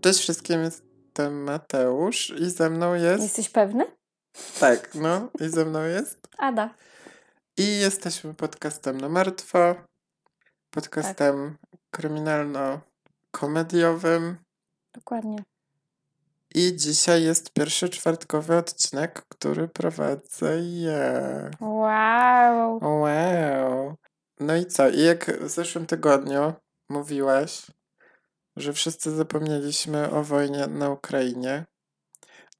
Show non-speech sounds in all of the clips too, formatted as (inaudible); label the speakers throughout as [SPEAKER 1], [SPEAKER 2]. [SPEAKER 1] Cześć wszystkim, jestem Mateusz i ze mną jest...
[SPEAKER 2] Jesteś pewny?
[SPEAKER 1] Tak, no i ze mną jest.
[SPEAKER 2] Ada.
[SPEAKER 1] I jesteśmy podcastem na martwo, podcastem kryminalno-komediowym
[SPEAKER 2] Dokładnie.
[SPEAKER 1] i dzisiaj jest pierwszy czwartkowy odcinek, który prowadzę ja.
[SPEAKER 2] Wow.
[SPEAKER 1] Wow. No i co? I jak w zeszłym tygodniu mówiłaś, że wszyscy zapomnieliśmy o wojnie na Ukrainie,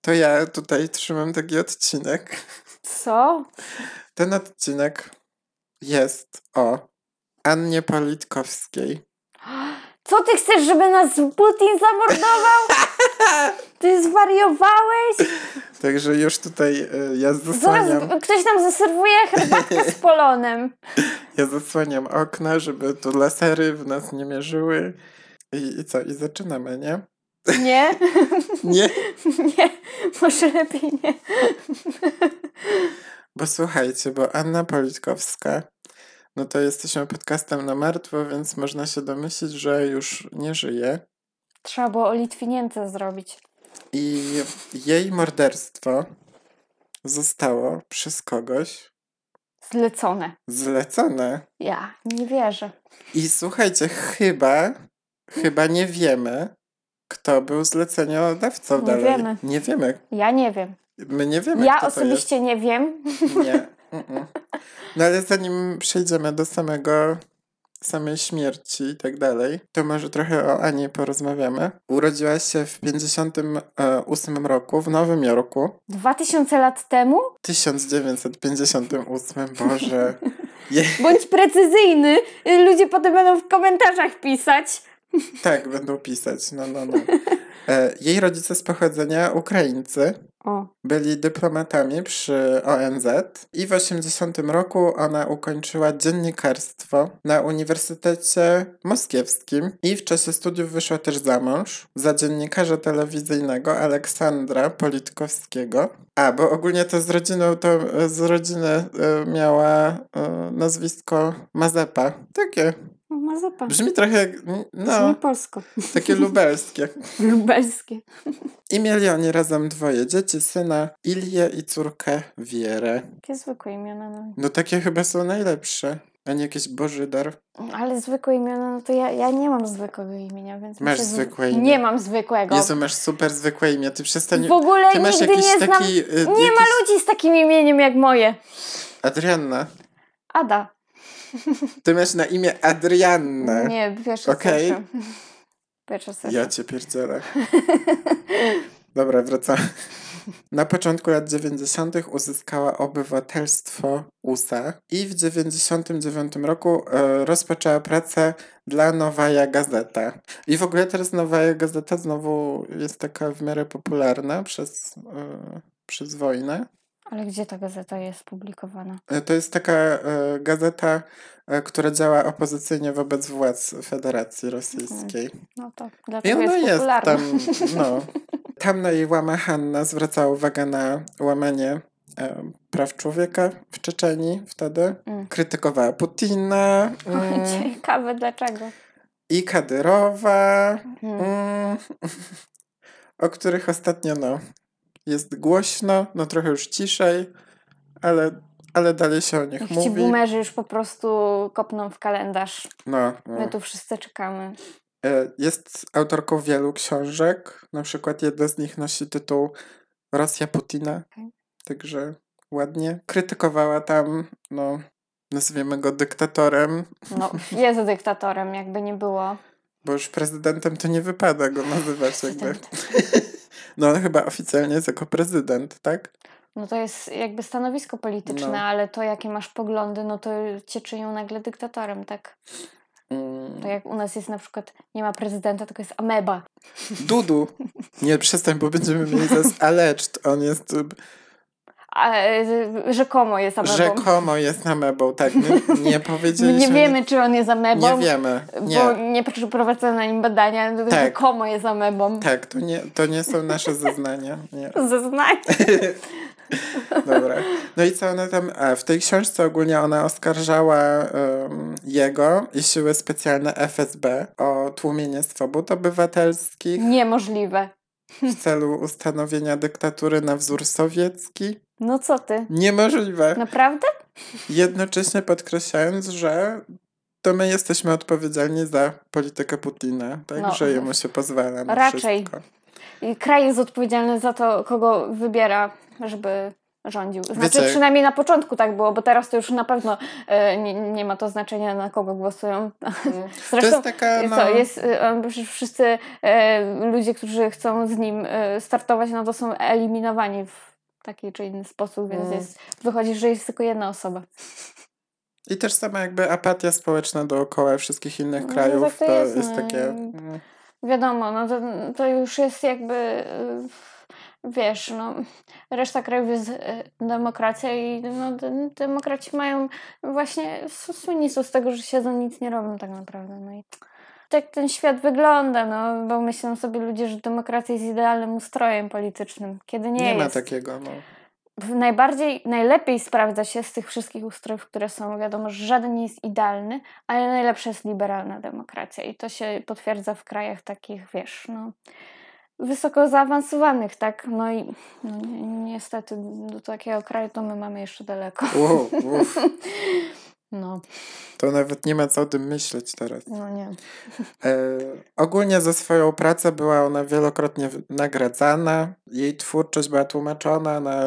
[SPEAKER 1] to ja tutaj trzymam taki odcinek.
[SPEAKER 2] Co?
[SPEAKER 1] Ten odcinek jest o Annie Politkowskiej.
[SPEAKER 2] Co ty chcesz, żeby nas Putin zamordował?
[SPEAKER 1] (laughs)
[SPEAKER 2] Ty zwariowałeś?
[SPEAKER 1] Także już tutaj y, ja
[SPEAKER 2] Zaraz
[SPEAKER 1] zasłaniam,
[SPEAKER 2] ktoś nam zaserwuje herbatkę z
[SPEAKER 1] (laughs)
[SPEAKER 2] polonem.
[SPEAKER 1] ja zasłaniam okna, żeby tu lasery w nas nie mierzyły. I, i co? I zaczynamy, nie?
[SPEAKER 2] Nie? (laughs)
[SPEAKER 1] Nie,
[SPEAKER 2] Nie. Może lepiej nie.
[SPEAKER 1] bo słuchajcie, bo Anna Politkowska, no to jesteśmy podcastem na martwo, więc można się domyślić, że już nie żyje.
[SPEAKER 2] Trzeba było o Litwinience zrobić.
[SPEAKER 1] I jej morderstwo zostało przez kogoś
[SPEAKER 2] Zlecone.
[SPEAKER 1] zlecone.
[SPEAKER 2] Ja nie wierzę.
[SPEAKER 1] I słuchajcie, chyba, chyba nie wiemy, kto był zleceniodawcą
[SPEAKER 2] Nie
[SPEAKER 1] dalej.
[SPEAKER 2] wiemy.
[SPEAKER 1] Nie wiemy.
[SPEAKER 2] Ja nie wiem.
[SPEAKER 1] My nie wiemy,
[SPEAKER 2] Ja
[SPEAKER 1] kto
[SPEAKER 2] osobiście nie wiem.
[SPEAKER 1] to jest. Nie. Mm-mm. No ale zanim przejdziemy do samego samej śmierci i tak dalej, to może trochę o Ani porozmawiamy. Urodziła się w 58 roku w Nowym Jorku.
[SPEAKER 2] Dwa tysiące lat temu?
[SPEAKER 1] 1958, Boże.
[SPEAKER 2] (laughs)
[SPEAKER 1] Je-
[SPEAKER 2] Bądź precyzyjny. Ludzie potem będą w komentarzach pisać.
[SPEAKER 1] tak, będą pisać. No, no, no. E, jej rodzice z pochodzenia Ukraińcy.
[SPEAKER 2] O,
[SPEAKER 1] Byli dyplomatami przy ONZ i w 80 roku ona ukończyła dziennikarstwo na Uniwersytecie Moskiewskim i w czasie studiów wyszła też za mąż za dziennikarza telewizyjnego Aleksandra Politkowskiego. A, bo ogólnie to z rodziną, to e, z rodziny e, miała e, nazwisko Mazepa. Takie,
[SPEAKER 2] Mazepam.
[SPEAKER 1] brzmi trochę, jak-
[SPEAKER 2] No.
[SPEAKER 1] no,
[SPEAKER 2] polsko. (laughs)
[SPEAKER 1] takie lubelskie.
[SPEAKER 2] Lubelskie.
[SPEAKER 1] I mieli oni razem dwoje dzieci, syna Ilię i córkę Wierę.
[SPEAKER 2] Takie zwykłe imiona. No.
[SPEAKER 1] No takie chyba są najlepsze, a nie jakiś bożydar.
[SPEAKER 2] Ale zwykłe imiona, no to ja, ja nie mam zwykłego imienia, więc...
[SPEAKER 1] Masz
[SPEAKER 2] muszę z-
[SPEAKER 1] zwykłe imię.
[SPEAKER 2] Nie mam zwykłego.
[SPEAKER 1] Jezu, masz super zwykłe imię, ty przestań...
[SPEAKER 2] w ogóle
[SPEAKER 1] Ty masz
[SPEAKER 2] nigdy
[SPEAKER 1] jakiś
[SPEAKER 2] nie
[SPEAKER 1] taki...
[SPEAKER 2] znam...
[SPEAKER 1] y,
[SPEAKER 2] Nie
[SPEAKER 1] jakiś...
[SPEAKER 2] ma ludzi z takim imieniem jak moje.
[SPEAKER 1] Adrianna.
[SPEAKER 2] Ada.
[SPEAKER 1] Ty masz na imię Adrianna.
[SPEAKER 2] Nie, pierwsze
[SPEAKER 1] Tak? Okej.
[SPEAKER 2] serce. (laughs) Pierwsze serce.
[SPEAKER 1] Ja cię pierdzielę. (laughs) Dobra, wracam. Na początku lat 90. uzyskała obywatelstwo USA i w 99 roku e, rozpoczęła pracę dla Nowaja Gazeta. I w ogóle teraz Nowaja Gazeta znowu jest taka w miarę popularna przez, e, przez wojnę.
[SPEAKER 2] Ale gdzie ta gazeta jest publikowana?
[SPEAKER 1] E, To jest taka e, gazeta, e, która działa opozycyjnie wobec władz Federacji Rosyjskiej.
[SPEAKER 2] No to
[SPEAKER 1] I
[SPEAKER 2] dlatego
[SPEAKER 1] ona
[SPEAKER 2] jest
[SPEAKER 1] jest
[SPEAKER 2] popularna. (laughs)
[SPEAKER 1] tam, no. (laughs) Tam na jej łamach Hanna zwracała uwagę na łamanie e, praw człowieka w Czeczeni wtedy.
[SPEAKER 2] Mm.
[SPEAKER 1] Krytykowała Putina
[SPEAKER 2] Oj,
[SPEAKER 1] mm,
[SPEAKER 2] Ciekawe dlaczego.
[SPEAKER 1] i Kadyrowa,
[SPEAKER 2] Mm.
[SPEAKER 1] mm, (laughs) o których ostatnio no, jest głośno, no trochę już ciszej, ale, ale dalej się o nich
[SPEAKER 2] Niech ci
[SPEAKER 1] mówi.
[SPEAKER 2] boomerzy już po prostu kopną w kalendarz.
[SPEAKER 1] No,
[SPEAKER 2] My
[SPEAKER 1] no.
[SPEAKER 2] tu wszyscy czekamy.
[SPEAKER 1] E, Jest autorką wielu książek. Na przykład jedna z nich nosi tytuł Rosja Putina.
[SPEAKER 2] Okej.
[SPEAKER 1] Także ładnie. Krytykowała tam, no, nazwijmy go dyktatorem,
[SPEAKER 2] No, jest dyktatorem, jakby nie było.
[SPEAKER 1] bo już prezydentem to nie wypada go nazywać jakby.
[SPEAKER 2] Prezydent.
[SPEAKER 1] (laughs) No on chyba oficjalnie jest jako prezydent, tak?
[SPEAKER 2] No to jest jakby stanowisko polityczne,
[SPEAKER 1] No.
[SPEAKER 2] ale to jakie masz poglądy, no to cię czynią nagle dyktatorem, tak?
[SPEAKER 1] Mm.
[SPEAKER 2] To jak u nas jest na przykład, nie ma prezydenta, tylko jest ameba.
[SPEAKER 1] Mm, Dudu! Nie, przestań, bo będziemy mieli zaraz
[SPEAKER 2] (laughs)
[SPEAKER 1] Aleczt. On jest y,
[SPEAKER 2] A, e, rzekomo jest amebą.
[SPEAKER 1] rzekomo jest na mebą, tak? Nie, nie
[SPEAKER 2] (laughs) My
[SPEAKER 1] powiedzieliśmy.
[SPEAKER 2] nie wiemy, czy on jest amebą,
[SPEAKER 1] Nie wiemy. Nie.
[SPEAKER 2] bo nie przeprowadzono na nim badania.
[SPEAKER 1] Tak.
[SPEAKER 2] Rzekomo jest amebą.
[SPEAKER 1] Tak, to nie, (laughs) to nie są nasze zeznania. Nie.
[SPEAKER 2] Zeznanie.
[SPEAKER 1] Dobra. No i co ona tam. A w tej książce ogólnie ona oskarżała em, jego i siły specjalne FSB o tłumienie swobód obywatelskich
[SPEAKER 2] Niemożliwe. Mhm.
[SPEAKER 1] w celu ustanowienia dyktatury na wzór sowiecki.
[SPEAKER 2] No co ty? No.
[SPEAKER 1] Niemożliwe.
[SPEAKER 2] Naprawdę?
[SPEAKER 1] Jednocześnie podkreślając, że to my jesteśmy odpowiedzialni za politykę Putina, tak?
[SPEAKER 2] No.
[SPEAKER 1] że jemu się pozwala na
[SPEAKER 2] Raczej.
[SPEAKER 1] wszystko.
[SPEAKER 2] I kraj jest odpowiedzialny za to, kogo wybiera, żeby rządził. Znaczy
[SPEAKER 1] Wiecie-
[SPEAKER 2] przynajmniej na początku tak było, bo teraz to już na pewno e, nie, nie ma to znaczenia, na kogo głosują.
[SPEAKER 1] To
[SPEAKER 2] Zresztą
[SPEAKER 1] jest taka.
[SPEAKER 2] Jest
[SPEAKER 1] No,
[SPEAKER 2] Co, jest, y, on- przecież wszyscy e, ludzie, którzy chcą z nim e, startować, no to są eliminowani w taki czy inny sposób, więc
[SPEAKER 1] Mm.
[SPEAKER 2] jest, wychodzi, że jest tylko jedna osoba.
[SPEAKER 1] I też sama jakby apatia społeczna dookoła wszystkich innych
[SPEAKER 2] No,
[SPEAKER 1] krajów.
[SPEAKER 2] tak to
[SPEAKER 1] to
[SPEAKER 2] jest,
[SPEAKER 1] jest,
[SPEAKER 2] no
[SPEAKER 1] takie.
[SPEAKER 2] i-
[SPEAKER 1] mm,
[SPEAKER 2] Wiadomo, no to, to już jest jakby, y, wiesz, no, reszta krajów jest y, demokracja i no, de- demokraci mają właśnie s- sunisu z tego, że siedzą nic nie robią tak naprawdę. No i tak ten świat wygląda, no, bo myślą sobie ludzie, że demokracja jest idealnym ustrojem politycznym, kiedy nie,
[SPEAKER 1] Nie, ma
[SPEAKER 2] jest.
[SPEAKER 1] takiego. No.
[SPEAKER 2] W- Najbardziej, najlepiej sprawdza się z tych wszystkich ustrojów, które są, wiadomo, że żaden nie jest idealny, ale najlepsza jest liberalna demokracja i to się potwierdza w krajach takich, wiesz, no, wysoko zaawansowanych, tak? No i no, ni- niestety do takiego kraju to my mamy jeszcze daleko.
[SPEAKER 1] Wow, uff,
[SPEAKER 2] (laughs) No,
[SPEAKER 1] to nawet nie ma co o tym myśleć teraz.
[SPEAKER 2] no nie.
[SPEAKER 1] E, ogólnie za swoją pracę była ona wielokrotnie w- nagradzana. Jej twórczość była tłumaczona na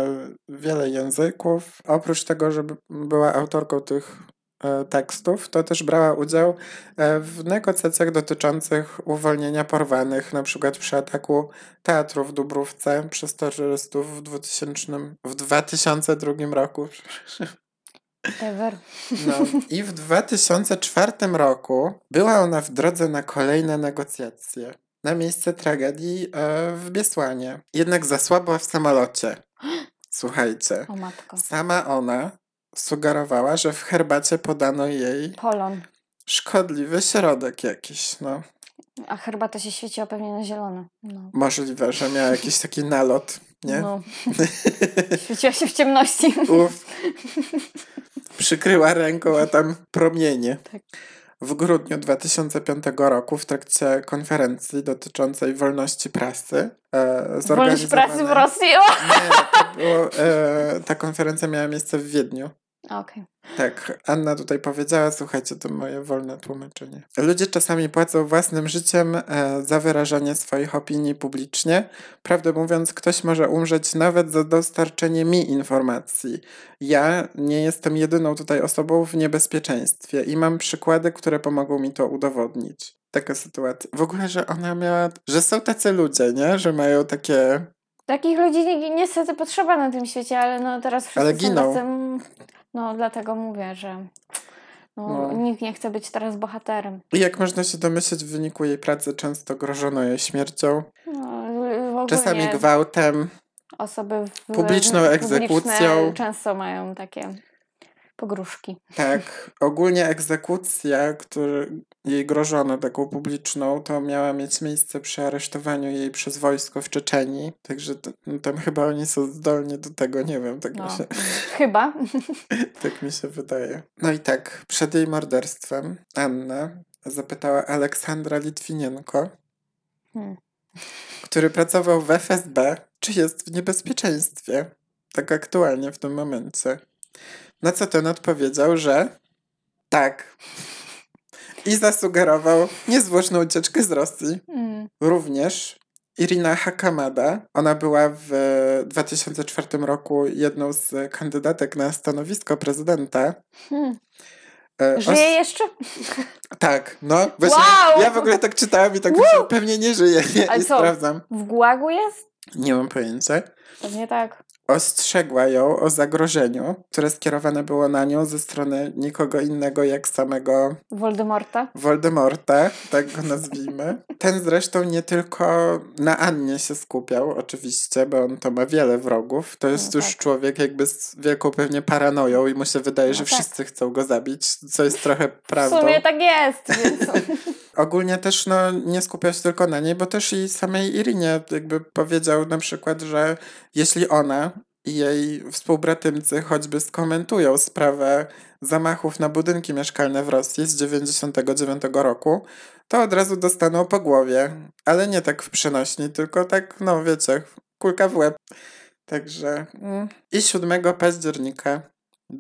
[SPEAKER 1] wiele języków. Oprócz tego, że b- była autorką tych e, tekstów, to też brała udział e, w negocjacjach dotyczących uwolnienia porwanych, na przykład przy ataku teatru w Dubrówce przez terrorystów w 2000, w 2002 roku.
[SPEAKER 2] Ever.
[SPEAKER 1] No, I w 2004 roku była ona w drodze na kolejne negocjacje na miejsce tragedii e, w Biesłanie. Jednak zasłabła w samolocie. Słuchajcie,
[SPEAKER 2] O matko.
[SPEAKER 1] sama ona sugerowała, że w herbacie podano jej
[SPEAKER 2] Polon.
[SPEAKER 1] szkodliwy środek jakiś. No,
[SPEAKER 2] A herbata się świeciła pewnie na zielono. No.
[SPEAKER 1] możliwe, że miała jakiś taki nalot, nie? (laughs)
[SPEAKER 2] No. świeciła się w ciemności.
[SPEAKER 1] Uf. Przykryła ręką, a tam promienie.
[SPEAKER 2] Tak.
[SPEAKER 1] W grudniu 2005 roku w trakcie konferencji dotyczącej wolności prasy e,
[SPEAKER 2] Wolność pracy w
[SPEAKER 1] zorganizowanej-
[SPEAKER 2] Rosji.
[SPEAKER 1] Nie, to było, e, ta konferencja miała miejsce w Wiedniu.
[SPEAKER 2] O! Okej.
[SPEAKER 1] Tak, Anna tutaj powiedziała, słuchajcie, to moje wolne tłumaczenie. Ludzie czasami płacą własnym życiem e, za wyrażanie swoich opinii publicznie. Prawdę mówiąc, ktoś może umrzeć nawet za dostarczenie mi informacji. Ja nie jestem jedyną tutaj osobą w niebezpieczeństwie i mam przykłady, które pomogą mi to udowodnić. Taka sytuacja. W ogóle, że ona miała. że są tacy ludzie, nie? Że mają takie.
[SPEAKER 2] Takich ludzi ni- niestety potrzeba na tym świecie, ale no teraz wszyscy
[SPEAKER 1] Ale
[SPEAKER 2] są
[SPEAKER 1] giną.
[SPEAKER 2] tacy- No dlatego mówię, że no,
[SPEAKER 1] No.
[SPEAKER 2] nikt nie chce być teraz bohaterem.
[SPEAKER 1] I jak można się domyśleć, w wyniku jej pracy często grożono jej śmiercią,
[SPEAKER 2] No, w ogóle
[SPEAKER 1] czasami gwałtem.
[SPEAKER 2] osoby w,
[SPEAKER 1] publiczną
[SPEAKER 2] publiczne
[SPEAKER 1] egzekucją.
[SPEAKER 2] często mają takie pogróżki.
[SPEAKER 1] Tak, ogólnie egzekucja, który jej grożono taką publiczną, to miała mieć miejsce przy aresztowaniu jej przez wojsko w Czeczenii. Także to, no tam chyba oni są zdolni do tego, nie wiem, tak,
[SPEAKER 2] No.
[SPEAKER 1] mi się,
[SPEAKER 2] Chyba.
[SPEAKER 1] tak mi się wydaje. No i tak, przed jej morderstwem Anna zapytała Aleksandra Litwinienko,
[SPEAKER 2] Hmm.
[SPEAKER 1] który pracował w FSB, czy jest w niebezpieczeństwie. Tak aktualnie w tym momencie. Na co ten odpowiedział, że tak. I zasugerował niezwłoczną ucieczkę z Rosji.
[SPEAKER 2] Mm.
[SPEAKER 1] Również Irina Hakamada, ona była w 2004 roku jedną z kandydatek na stanowisko prezydenta.
[SPEAKER 2] Hmm.
[SPEAKER 1] E, os-
[SPEAKER 2] Żyje jeszcze?
[SPEAKER 1] Tak, no. Właśnie
[SPEAKER 2] Wow!
[SPEAKER 1] Ja w ogóle tak czytałam i tak myślałam, pewnie nie żyje. Nie,
[SPEAKER 2] Ale
[SPEAKER 1] I
[SPEAKER 2] co?
[SPEAKER 1] sprawdzam.
[SPEAKER 2] W Głagu jest?
[SPEAKER 1] Nie mam pojęcia.
[SPEAKER 2] Pewnie tak.
[SPEAKER 1] ostrzegła ją o zagrożeniu, które skierowane było na nią ze strony nikogo innego jak samego
[SPEAKER 2] Voldemorta?
[SPEAKER 1] Voldemorta, tak go nazwijmy. Ten zresztą nie tylko na Annie się skupiał, oczywiście, bo on to ma wiele wrogów. To jest
[SPEAKER 2] No
[SPEAKER 1] już
[SPEAKER 2] tak.
[SPEAKER 1] człowiek jakby z wielką pewnie paranoją i mu się wydaje, że
[SPEAKER 2] No tak.
[SPEAKER 1] wszyscy chcą go zabić, co jest trochę
[SPEAKER 2] W
[SPEAKER 1] prawdą.
[SPEAKER 2] sumie tak jest. Więc... (laughs)
[SPEAKER 1] Ogólnie też no, nie skupiał się tylko na niej, bo też i samej Irinie jakby powiedział na przykład, że jeśli ona i jej współbratymcy choćby skomentują sprawę zamachów na budynki mieszkalne w Rosji z 99 roku, to od razu dostaną po głowie. Ale nie tak w przenośni, tylko tak, no wiecie, kulka w łeb. Także. mm. I 7 października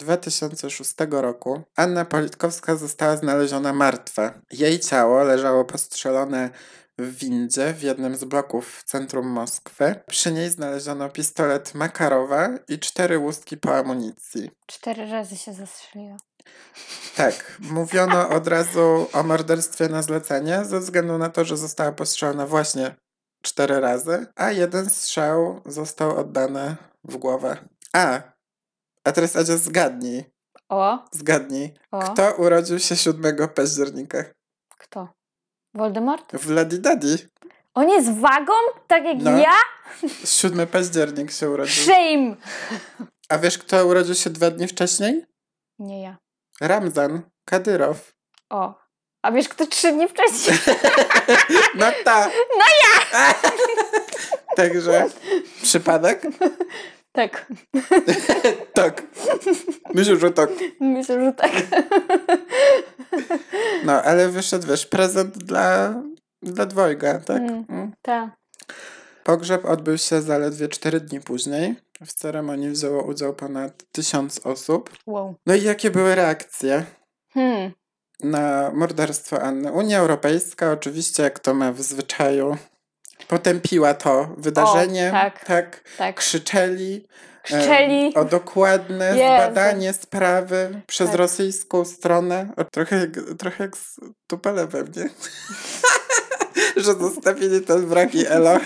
[SPEAKER 1] 2006 roku Anna Politkowska została znaleziona martwa. Jej ciało leżało postrzelone w windzie w jednym z bloków w centrum Moskwy. Przy niej znaleziono pistolet Makarowa i cztery łuski po amunicji.
[SPEAKER 2] Cztery razy się zastrzeliła.
[SPEAKER 1] Tak, mówiono od razu o morderstwie na zlecenie ze względu na to, że została postrzelona właśnie cztery razy, a jeden strzał został oddany w głowę. A, a teraz Adzia zgadnij,
[SPEAKER 2] O,
[SPEAKER 1] zgadnij,
[SPEAKER 2] o.
[SPEAKER 1] kto urodził się 7 października?
[SPEAKER 2] Kto? Voldemort?
[SPEAKER 1] Vladi Daddy.
[SPEAKER 2] On jest wagą? Tak jak
[SPEAKER 1] No.
[SPEAKER 2] ja?
[SPEAKER 1] 7 październik się urodził.
[SPEAKER 2] Shame!
[SPEAKER 1] A wiesz, kto urodził się dwa dni wcześniej?
[SPEAKER 2] Nie ja.
[SPEAKER 1] Ramzan Kadyrow.
[SPEAKER 2] O. A wiesz, kto trzy dni
[SPEAKER 1] (laughs)
[SPEAKER 2] wcześniej?
[SPEAKER 1] No ta. No ja! (laughs) Także przypadek?
[SPEAKER 2] tak.
[SPEAKER 1] Tak. Myślę, że tak.
[SPEAKER 2] Myślę, że
[SPEAKER 1] (laughs)
[SPEAKER 2] tak.
[SPEAKER 1] No, ale wyszedł, wiesz, prezent dla, dla dwojga, tak?
[SPEAKER 2] Mm.
[SPEAKER 1] Mm.
[SPEAKER 2] tak.
[SPEAKER 1] Pogrzeb odbył się zaledwie 4 dni później. W ceremonii wzięło udział ponad tysiąc osób.
[SPEAKER 2] Wow.
[SPEAKER 1] No i jakie były reakcje?
[SPEAKER 2] Hmm.
[SPEAKER 1] na morderstwo Anny. Unia Europejska, oczywiście, jak to ma w zwyczaju, potępiła to wydarzenie.
[SPEAKER 2] tak. Tak.
[SPEAKER 1] Krzyczeli. em,
[SPEAKER 2] Krzczeli.
[SPEAKER 1] e, O dokładne
[SPEAKER 2] Jezu.
[SPEAKER 1] zbadanie sprawy przez
[SPEAKER 2] Tak.
[SPEAKER 1] rosyjską stronę. O, trochę, jak, trochę jak z Tupelewem, nie? (laughs) Że zostawili ten wrak i elo. (laughs)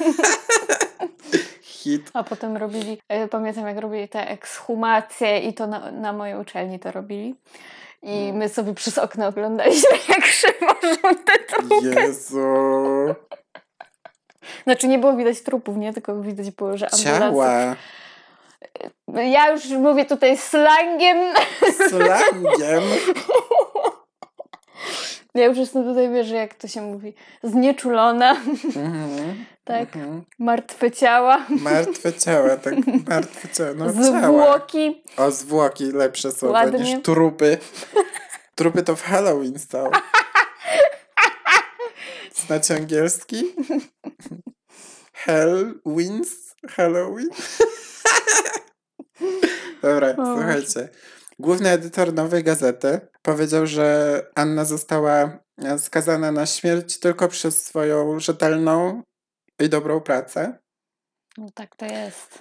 [SPEAKER 1] Hit.
[SPEAKER 2] A potem robili, e, pamiętam jak robili te ekshumacje i to na, na mojej uczelni to robili. I
[SPEAKER 1] Mm.
[SPEAKER 2] my sobie przez okno oglądaliśmy, (laughs) jak przywożą te trupy.
[SPEAKER 1] Jezu.
[SPEAKER 2] Znaczy nie było widać trupów, nie? Tylko widać było, że ambulans...
[SPEAKER 1] Ciała.
[SPEAKER 2] Ja już mówię tutaj slangiem.
[SPEAKER 1] Slangiem.
[SPEAKER 2] Ja już jestem tutaj, wiesz, jak to się mówi, znieczulona. (laughs)
[SPEAKER 1] Mhm.
[SPEAKER 2] Tak,
[SPEAKER 1] Mhm.
[SPEAKER 2] martwe ciała,
[SPEAKER 1] Martwe ciała, tak martwe ciała. No, ciała.
[SPEAKER 2] zwłoki.
[SPEAKER 1] O, zwłoki lepsze słowo
[SPEAKER 2] Ładnie.
[SPEAKER 1] niż trupy. Trupy to w Halloween są. Znacie angielski? Hellwins? Halloween? Dobra,
[SPEAKER 2] Boże.
[SPEAKER 1] słuchajcie. Główny edytor Nowej Gazety powiedział, że Anna została e, skazana na śmierć tylko przez swoją rzetelną i dobrą pracę.
[SPEAKER 2] No tak to jest.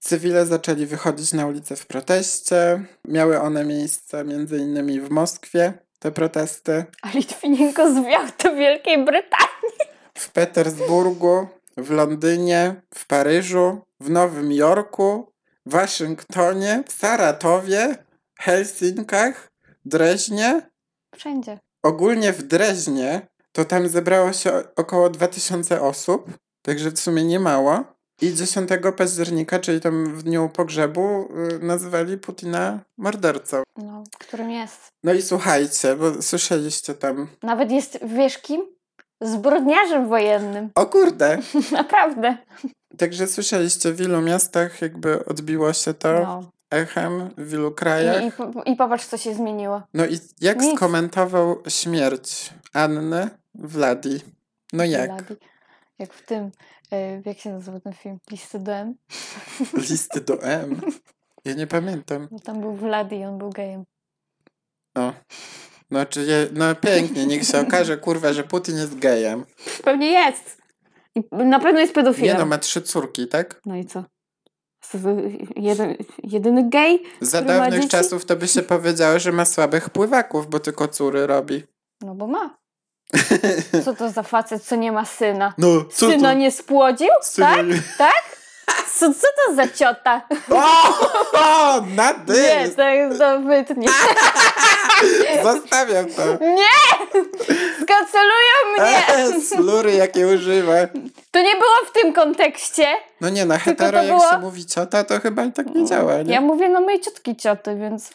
[SPEAKER 1] Cywile zaczęli wychodzić na ulicę w proteście. Miały one miejsce m.in. w Moskwie, te protesty,
[SPEAKER 2] A Litwinienko zwiał do Wielkiej Brytanii.
[SPEAKER 1] w Petersburgu, w Londynie, w Paryżu, w Nowym Jorku, Waszyngtonie, w Saratowie, Helsinkach, Dreźnie.
[SPEAKER 2] Wszędzie.
[SPEAKER 1] Ogólnie w Dreźnie to tam zebrało się o- około 2000 osób, także w sumie niemało. I 10 października, czyli tam w dniu pogrzebu, y, nazywali Putina mordercą.
[SPEAKER 2] No, którym jest.
[SPEAKER 1] No i słuchajcie, bo słyszeliście tam.
[SPEAKER 2] Nawet jest, wiesz kim? Zbrodniarzem wojennym. (laughs)
[SPEAKER 1] O kurde!
[SPEAKER 2] Naprawdę.
[SPEAKER 1] Także słyszeliście, w ilu miastach jakby odbiło się to
[SPEAKER 2] No.
[SPEAKER 1] echem, w ilu
[SPEAKER 2] I,
[SPEAKER 1] krajach.
[SPEAKER 2] i, po- I popatrz, co się zmieniło.
[SPEAKER 1] No i jak
[SPEAKER 2] Nic.
[SPEAKER 1] skomentował śmierć Anny Vladi? No jak?
[SPEAKER 2] Ladi. Jak w tym, y, jak się nazywa ten film? Listy do M.
[SPEAKER 1] (laughs) Listy do M. Ja nie pamiętam.
[SPEAKER 2] No Tam był Vladi i on był gejem.
[SPEAKER 1] No. No, czy je, no pięknie, niech się okaże, kurwa, że Putin jest gejem.
[SPEAKER 2] Pewnie jest. I na pewno jest
[SPEAKER 1] Nie
[SPEAKER 2] pedofilem.
[SPEAKER 1] no, ma trzy córki, tak?
[SPEAKER 2] No i co? Jeden, jedyny gej?
[SPEAKER 1] Za
[SPEAKER 2] Który ma
[SPEAKER 1] dawnych
[SPEAKER 2] dzieci?
[SPEAKER 1] czasów to by się powiedziało, że ma słabych pływaków, bo tylko córy robi.
[SPEAKER 2] No bo (laughs) ma. Co to za facet, co nie ma syna?
[SPEAKER 1] No, co
[SPEAKER 2] Syna
[SPEAKER 1] tu?
[SPEAKER 2] nie spłodził?
[SPEAKER 1] Syna nie-
[SPEAKER 2] Co, co to za ciota?
[SPEAKER 1] O, na
[SPEAKER 2] Nie,
[SPEAKER 1] dym!
[SPEAKER 2] to jest to (laughs) wytnie.
[SPEAKER 1] (laughs) Zostawiam
[SPEAKER 2] (laughs)
[SPEAKER 1] to.
[SPEAKER 2] Nie! Skancelują mnie! (laughs)
[SPEAKER 1] E, Slury, jakie używa.
[SPEAKER 2] To nie było w tym kontekście.
[SPEAKER 1] No nie, na
[SPEAKER 2] Tylko to
[SPEAKER 1] hetero jak
[SPEAKER 2] było-
[SPEAKER 1] się mówi ciota, to chyba i tak nie działa.
[SPEAKER 2] Ja
[SPEAKER 1] Nie?
[SPEAKER 2] mówię no mojej ciotki cioty, (laughs) więc...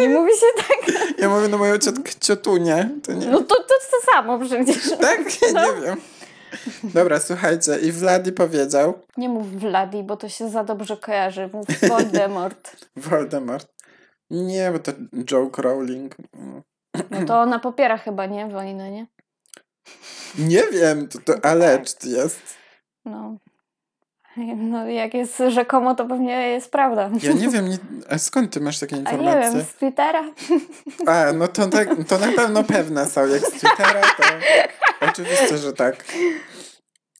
[SPEAKER 2] Nie mówi się tak.
[SPEAKER 1] Ja no,
[SPEAKER 2] (laughs)
[SPEAKER 1] mówię na moją ciotkę ciotunię. To nie...
[SPEAKER 2] No to to, to samo przecież.
[SPEAKER 1] Tak? (laughs) Ja
[SPEAKER 2] No.
[SPEAKER 1] nie wiem. Dobra, słuchajcie, i Vladi powiedział,
[SPEAKER 2] Nie mów Vladi, bo to się za dobrze kojarzy. Mów Voldemort.
[SPEAKER 1] Voldemort, nie, bo to joke Rowling. Mm.
[SPEAKER 2] No to ona popiera chyba, nie? Wojnę, nie?
[SPEAKER 1] Nie wiem, to, to alleged jest.
[SPEAKER 2] No. No, jak jest rzekomo, to pewnie jest prawda.
[SPEAKER 1] Ja nie wiem, nie, a skąd ty masz takie
[SPEAKER 2] A nie wiem,
[SPEAKER 1] informacje?
[SPEAKER 2] z Twittera?
[SPEAKER 1] A, no to, tak, to na pewno pewne są, jak z Twittera, to oczywiście, że tak.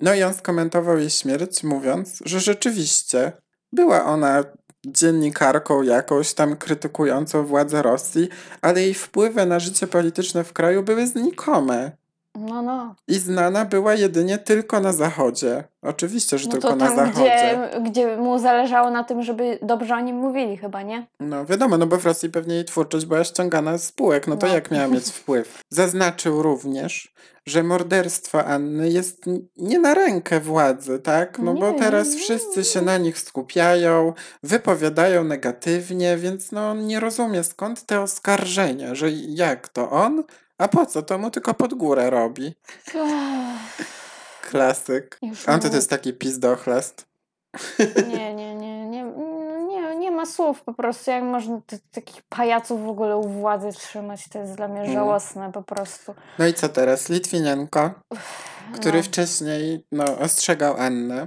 [SPEAKER 1] No i on skomentował jej śmierć, mówiąc, że rzeczywiście była ona dziennikarką jakąś tam krytykującą władzę Rosji, ale jej wpływy na życie polityczne w kraju były znikome.
[SPEAKER 2] No, no.
[SPEAKER 1] I znana była jedynie tylko na Zachodzie. Oczywiście, że
[SPEAKER 2] No
[SPEAKER 1] tylko
[SPEAKER 2] to
[SPEAKER 1] na
[SPEAKER 2] tam,
[SPEAKER 1] Zachodzie.
[SPEAKER 2] gdzie, gdzie mu zależało na tym, żeby dobrze o nim mówili chyba, nie?
[SPEAKER 1] No wiadomo, no bo w Rosji pewnie jej twórczość była ściągana z spółek, no to
[SPEAKER 2] No.
[SPEAKER 1] jak miała mieć wpływ? Zaznaczył również, że morderstwo Anny jest n- nie na rękę władzy, tak? No bo
[SPEAKER 2] Nie,
[SPEAKER 1] teraz
[SPEAKER 2] nie.
[SPEAKER 1] wszyscy się na nich skupiają, wypowiadają negatywnie, więc no on nie rozumie skąd te oskarżenia, że jak to on, a po co to mu tylko pod górę robi.
[SPEAKER 2] Ech,
[SPEAKER 1] Klasyk.
[SPEAKER 2] Już
[SPEAKER 1] On to,
[SPEAKER 2] nie.
[SPEAKER 1] to jest taki pizdochlest.
[SPEAKER 2] Nie, nie, nie, nie, nie, nie ma słów po prostu. Jak można ty, takich pajaców w ogóle u władzy trzymać? To jest dla mnie
[SPEAKER 1] Mm.
[SPEAKER 2] żałosne po prostu.
[SPEAKER 1] No i co teraz? Litwinianko? który
[SPEAKER 2] no.
[SPEAKER 1] wcześniej no, ostrzegał Annę,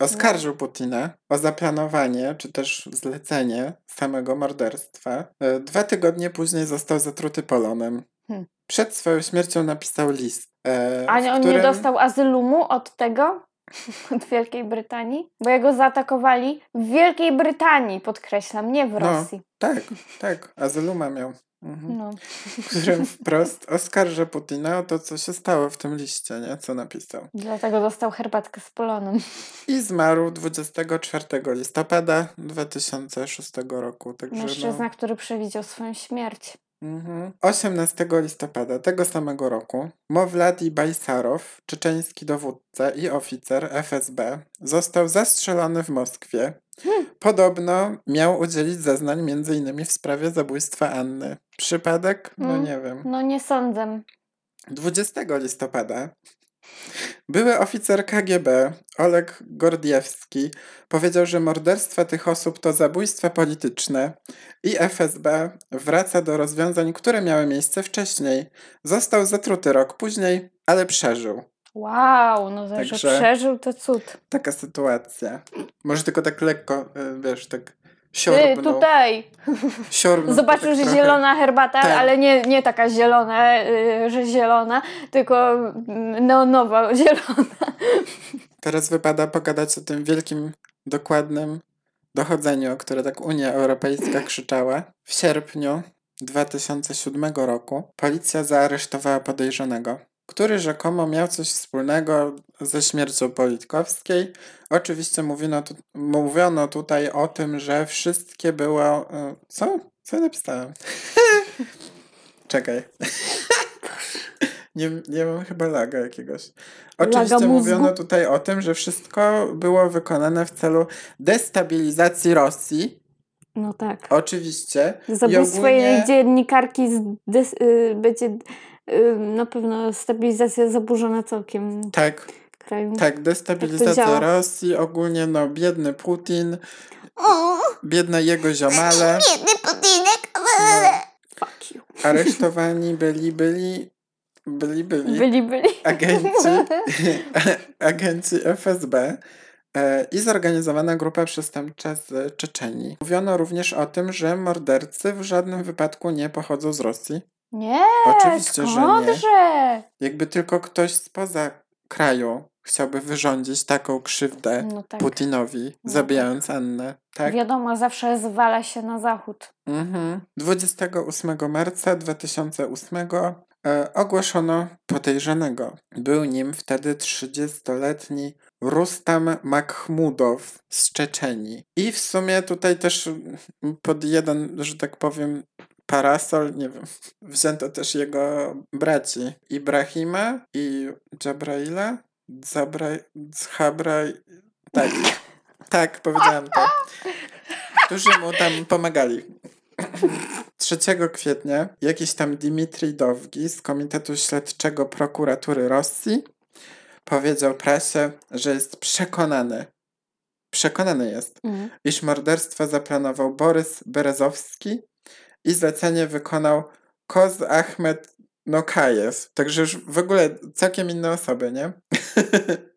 [SPEAKER 1] oskarżył
[SPEAKER 2] No.
[SPEAKER 1] Putina o zaplanowanie czy też zlecenie samego morderstwa. E, Dwa tygodnie później został zatruty polonem.
[SPEAKER 2] Hmm.
[SPEAKER 1] Przed swoją śmiercią napisał list. e,
[SPEAKER 2] A
[SPEAKER 1] w
[SPEAKER 2] nie, on nie
[SPEAKER 1] którym-
[SPEAKER 2] dostał azylu mu od tego? (laughs) Od Wielkiej Brytanii? Bo jego zaatakowali w Wielkiej Brytanii, podkreślam, nie w
[SPEAKER 1] No.
[SPEAKER 2] Rosji.
[SPEAKER 1] Tak, tak, azyluma miał. Mhm.
[SPEAKER 2] No.
[SPEAKER 1] W którym wprost oskarża Putina o to, co się stało w tym liście, nie? co napisał.
[SPEAKER 2] Dlatego dostał herbatkę z polonem.
[SPEAKER 1] I zmarł 24 listopada 2006 roku. Także no...
[SPEAKER 2] Mężczyzna, który przewidział swoją śmierć.
[SPEAKER 1] Mhm. 18 listopada tego samego roku Mowladi Bajsarow, czeczeński dowódca i oficer FSB, został zastrzelony w Moskwie. Podobno miał udzielić zeznań m.in. w sprawie zabójstwa Anny. Przypadek? No
[SPEAKER 2] Mm.
[SPEAKER 1] nie wiem.
[SPEAKER 2] No nie sądzę.
[SPEAKER 1] 20 listopada były oficer KGB Oleg Gordiewski powiedział, że morderstwa tych osób to zabójstwa polityczne i FSB wraca do rozwiązań, które miały miejsce wcześniej. Został zatruty rok później, ale przeżył.
[SPEAKER 2] Wow, no to, że
[SPEAKER 1] Także-
[SPEAKER 2] przeżył to cud.
[SPEAKER 1] Taka sytuacja. Może tylko tak lekko, y, wiesz, tak
[SPEAKER 2] Ty,
[SPEAKER 1] siorbnął.
[SPEAKER 2] tutaj!
[SPEAKER 1] siorbnął
[SPEAKER 2] Zobaczył,
[SPEAKER 1] tak
[SPEAKER 2] że
[SPEAKER 1] trochę.
[SPEAKER 2] zielona herbata,
[SPEAKER 1] Tak.
[SPEAKER 2] ale nie, nie taka zielona, y, że zielona, tylko mm, neonowa zielona.
[SPEAKER 1] Teraz wypada pogadać o tym wielkim, dokładnym dochodzeniu, o które tak Unia Europejska krzyczała. W sierpniu 2007 roku policja zaaresztowała podejrzanego, który rzekomo miał coś wspólnego ze śmiercią Politkowskiej. Oczywiście mówiono, tu, mówiono tutaj o tym, że wszystkie było... y, Co? Co ja
[SPEAKER 2] (laughs)
[SPEAKER 1] napisałem? Czekaj. (laughs) nie, nie mam chyba laga jakiegoś.
[SPEAKER 2] Laga
[SPEAKER 1] Oczywiście
[SPEAKER 2] mózgu?
[SPEAKER 1] mówiono tutaj o tym, że wszystko było wykonane w celu destabilizacji Rosji.
[SPEAKER 2] No tak.
[SPEAKER 1] Oczywiście. I
[SPEAKER 2] Zabójstwo
[SPEAKER 1] ogólnie-
[SPEAKER 2] jej dziennikarki z des, y, będzie y, na pewno stabilizacja zaburzona całkiem
[SPEAKER 1] Tak,
[SPEAKER 2] kraju.
[SPEAKER 1] tak, destabilizacja
[SPEAKER 2] działa.
[SPEAKER 1] Rosji, ogólnie no biedny Putin,
[SPEAKER 3] O,
[SPEAKER 1] biedne jego ziomale,
[SPEAKER 3] biedny budynek.
[SPEAKER 1] No.
[SPEAKER 2] Fuck you.
[SPEAKER 1] aresztowani byli, byli, byli, byli,
[SPEAKER 2] Byli, byli.
[SPEAKER 1] agenci, agenci FSB e, i zorganizowana grupa przestępcza z Czeczenii. Mówiono również o tym, że mordercy w żadnym wypadku nie pochodzą z Rosji.
[SPEAKER 2] (laughs) Nie,
[SPEAKER 1] Oczywiście, że nie.
[SPEAKER 2] skądże?
[SPEAKER 1] Jakby tylko ktoś spoza kraju chciałby wyrządzić taką krzywdę
[SPEAKER 2] No tak.
[SPEAKER 1] Putinowi,
[SPEAKER 2] No
[SPEAKER 1] zabijając Annę. Tak.
[SPEAKER 2] Wiadomo, zawsze zwala się na zachód.
[SPEAKER 1] Mhm. 28 marca 2008 e, ogłoszono podejrzanego. Był nim wtedy 30-letni Rustam Makhmudow z Czeczenii. I w sumie tutaj też mm, pod jeden, że tak powiem, parasol, nie wiem, (laughs) wzięto też jego braci Ibrahima i Dżabraila. Zabra... Chabra... Tak. Tak, powiedziałam to. Którzy mu tam pomagali. 3 kwietnia jakiś tam Dimitrij Dowgi z Komitetu Śledczego Prokuratury Rosji powiedział prasie, że jest przekonany. Przekonany jest,
[SPEAKER 2] Mhm.
[SPEAKER 1] iż morderstwo zaplanował Borys Berezowski i zlecenie wykonał Koz Ahmed Nokajew. Także już w ogóle całkiem inne osoby, nie?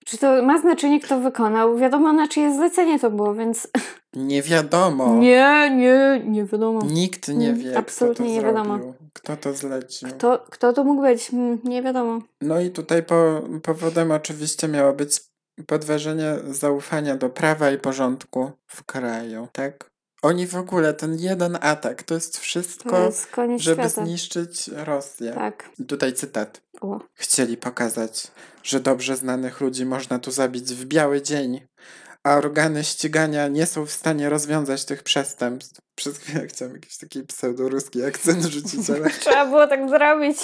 [SPEAKER 2] Czy to ma znaczenie, kto wykonał? Wiadomo, na czyje zlecenie to było, więc
[SPEAKER 1] Nie wiadomo.
[SPEAKER 2] (laughs) nie, nie, nie wiadomo.
[SPEAKER 1] Nikt nie
[SPEAKER 2] Mm,
[SPEAKER 1] wie,
[SPEAKER 2] absolutnie
[SPEAKER 1] kto to
[SPEAKER 2] nie
[SPEAKER 1] zrobił,
[SPEAKER 2] wiadomo.
[SPEAKER 1] kto to zlecił.
[SPEAKER 2] Kto, kto to mógł być? Mm, Nie wiadomo.
[SPEAKER 1] No i tutaj po, powodem oczywiście miało być podważenie zaufania do prawa i porządku w kraju, tak? Oni w ogóle, ten jeden atak, to jest
[SPEAKER 2] To
[SPEAKER 1] wszystko,
[SPEAKER 2] jest koniec
[SPEAKER 1] żeby
[SPEAKER 2] świata.
[SPEAKER 1] zniszczyć Rosję.
[SPEAKER 2] Tak.
[SPEAKER 1] Tutaj cytat.
[SPEAKER 2] O.
[SPEAKER 1] Chcieli pokazać, że dobrze znanych ludzi można tu zabić w biały dzień, a organy ścigania nie są w stanie rozwiązać tych przestępstw. Przez chwilę chciałem jakiś taki pseudoruski akcent rzucić,
[SPEAKER 2] (laughs)
[SPEAKER 1] ale
[SPEAKER 2] Trzeba było tak zrobić.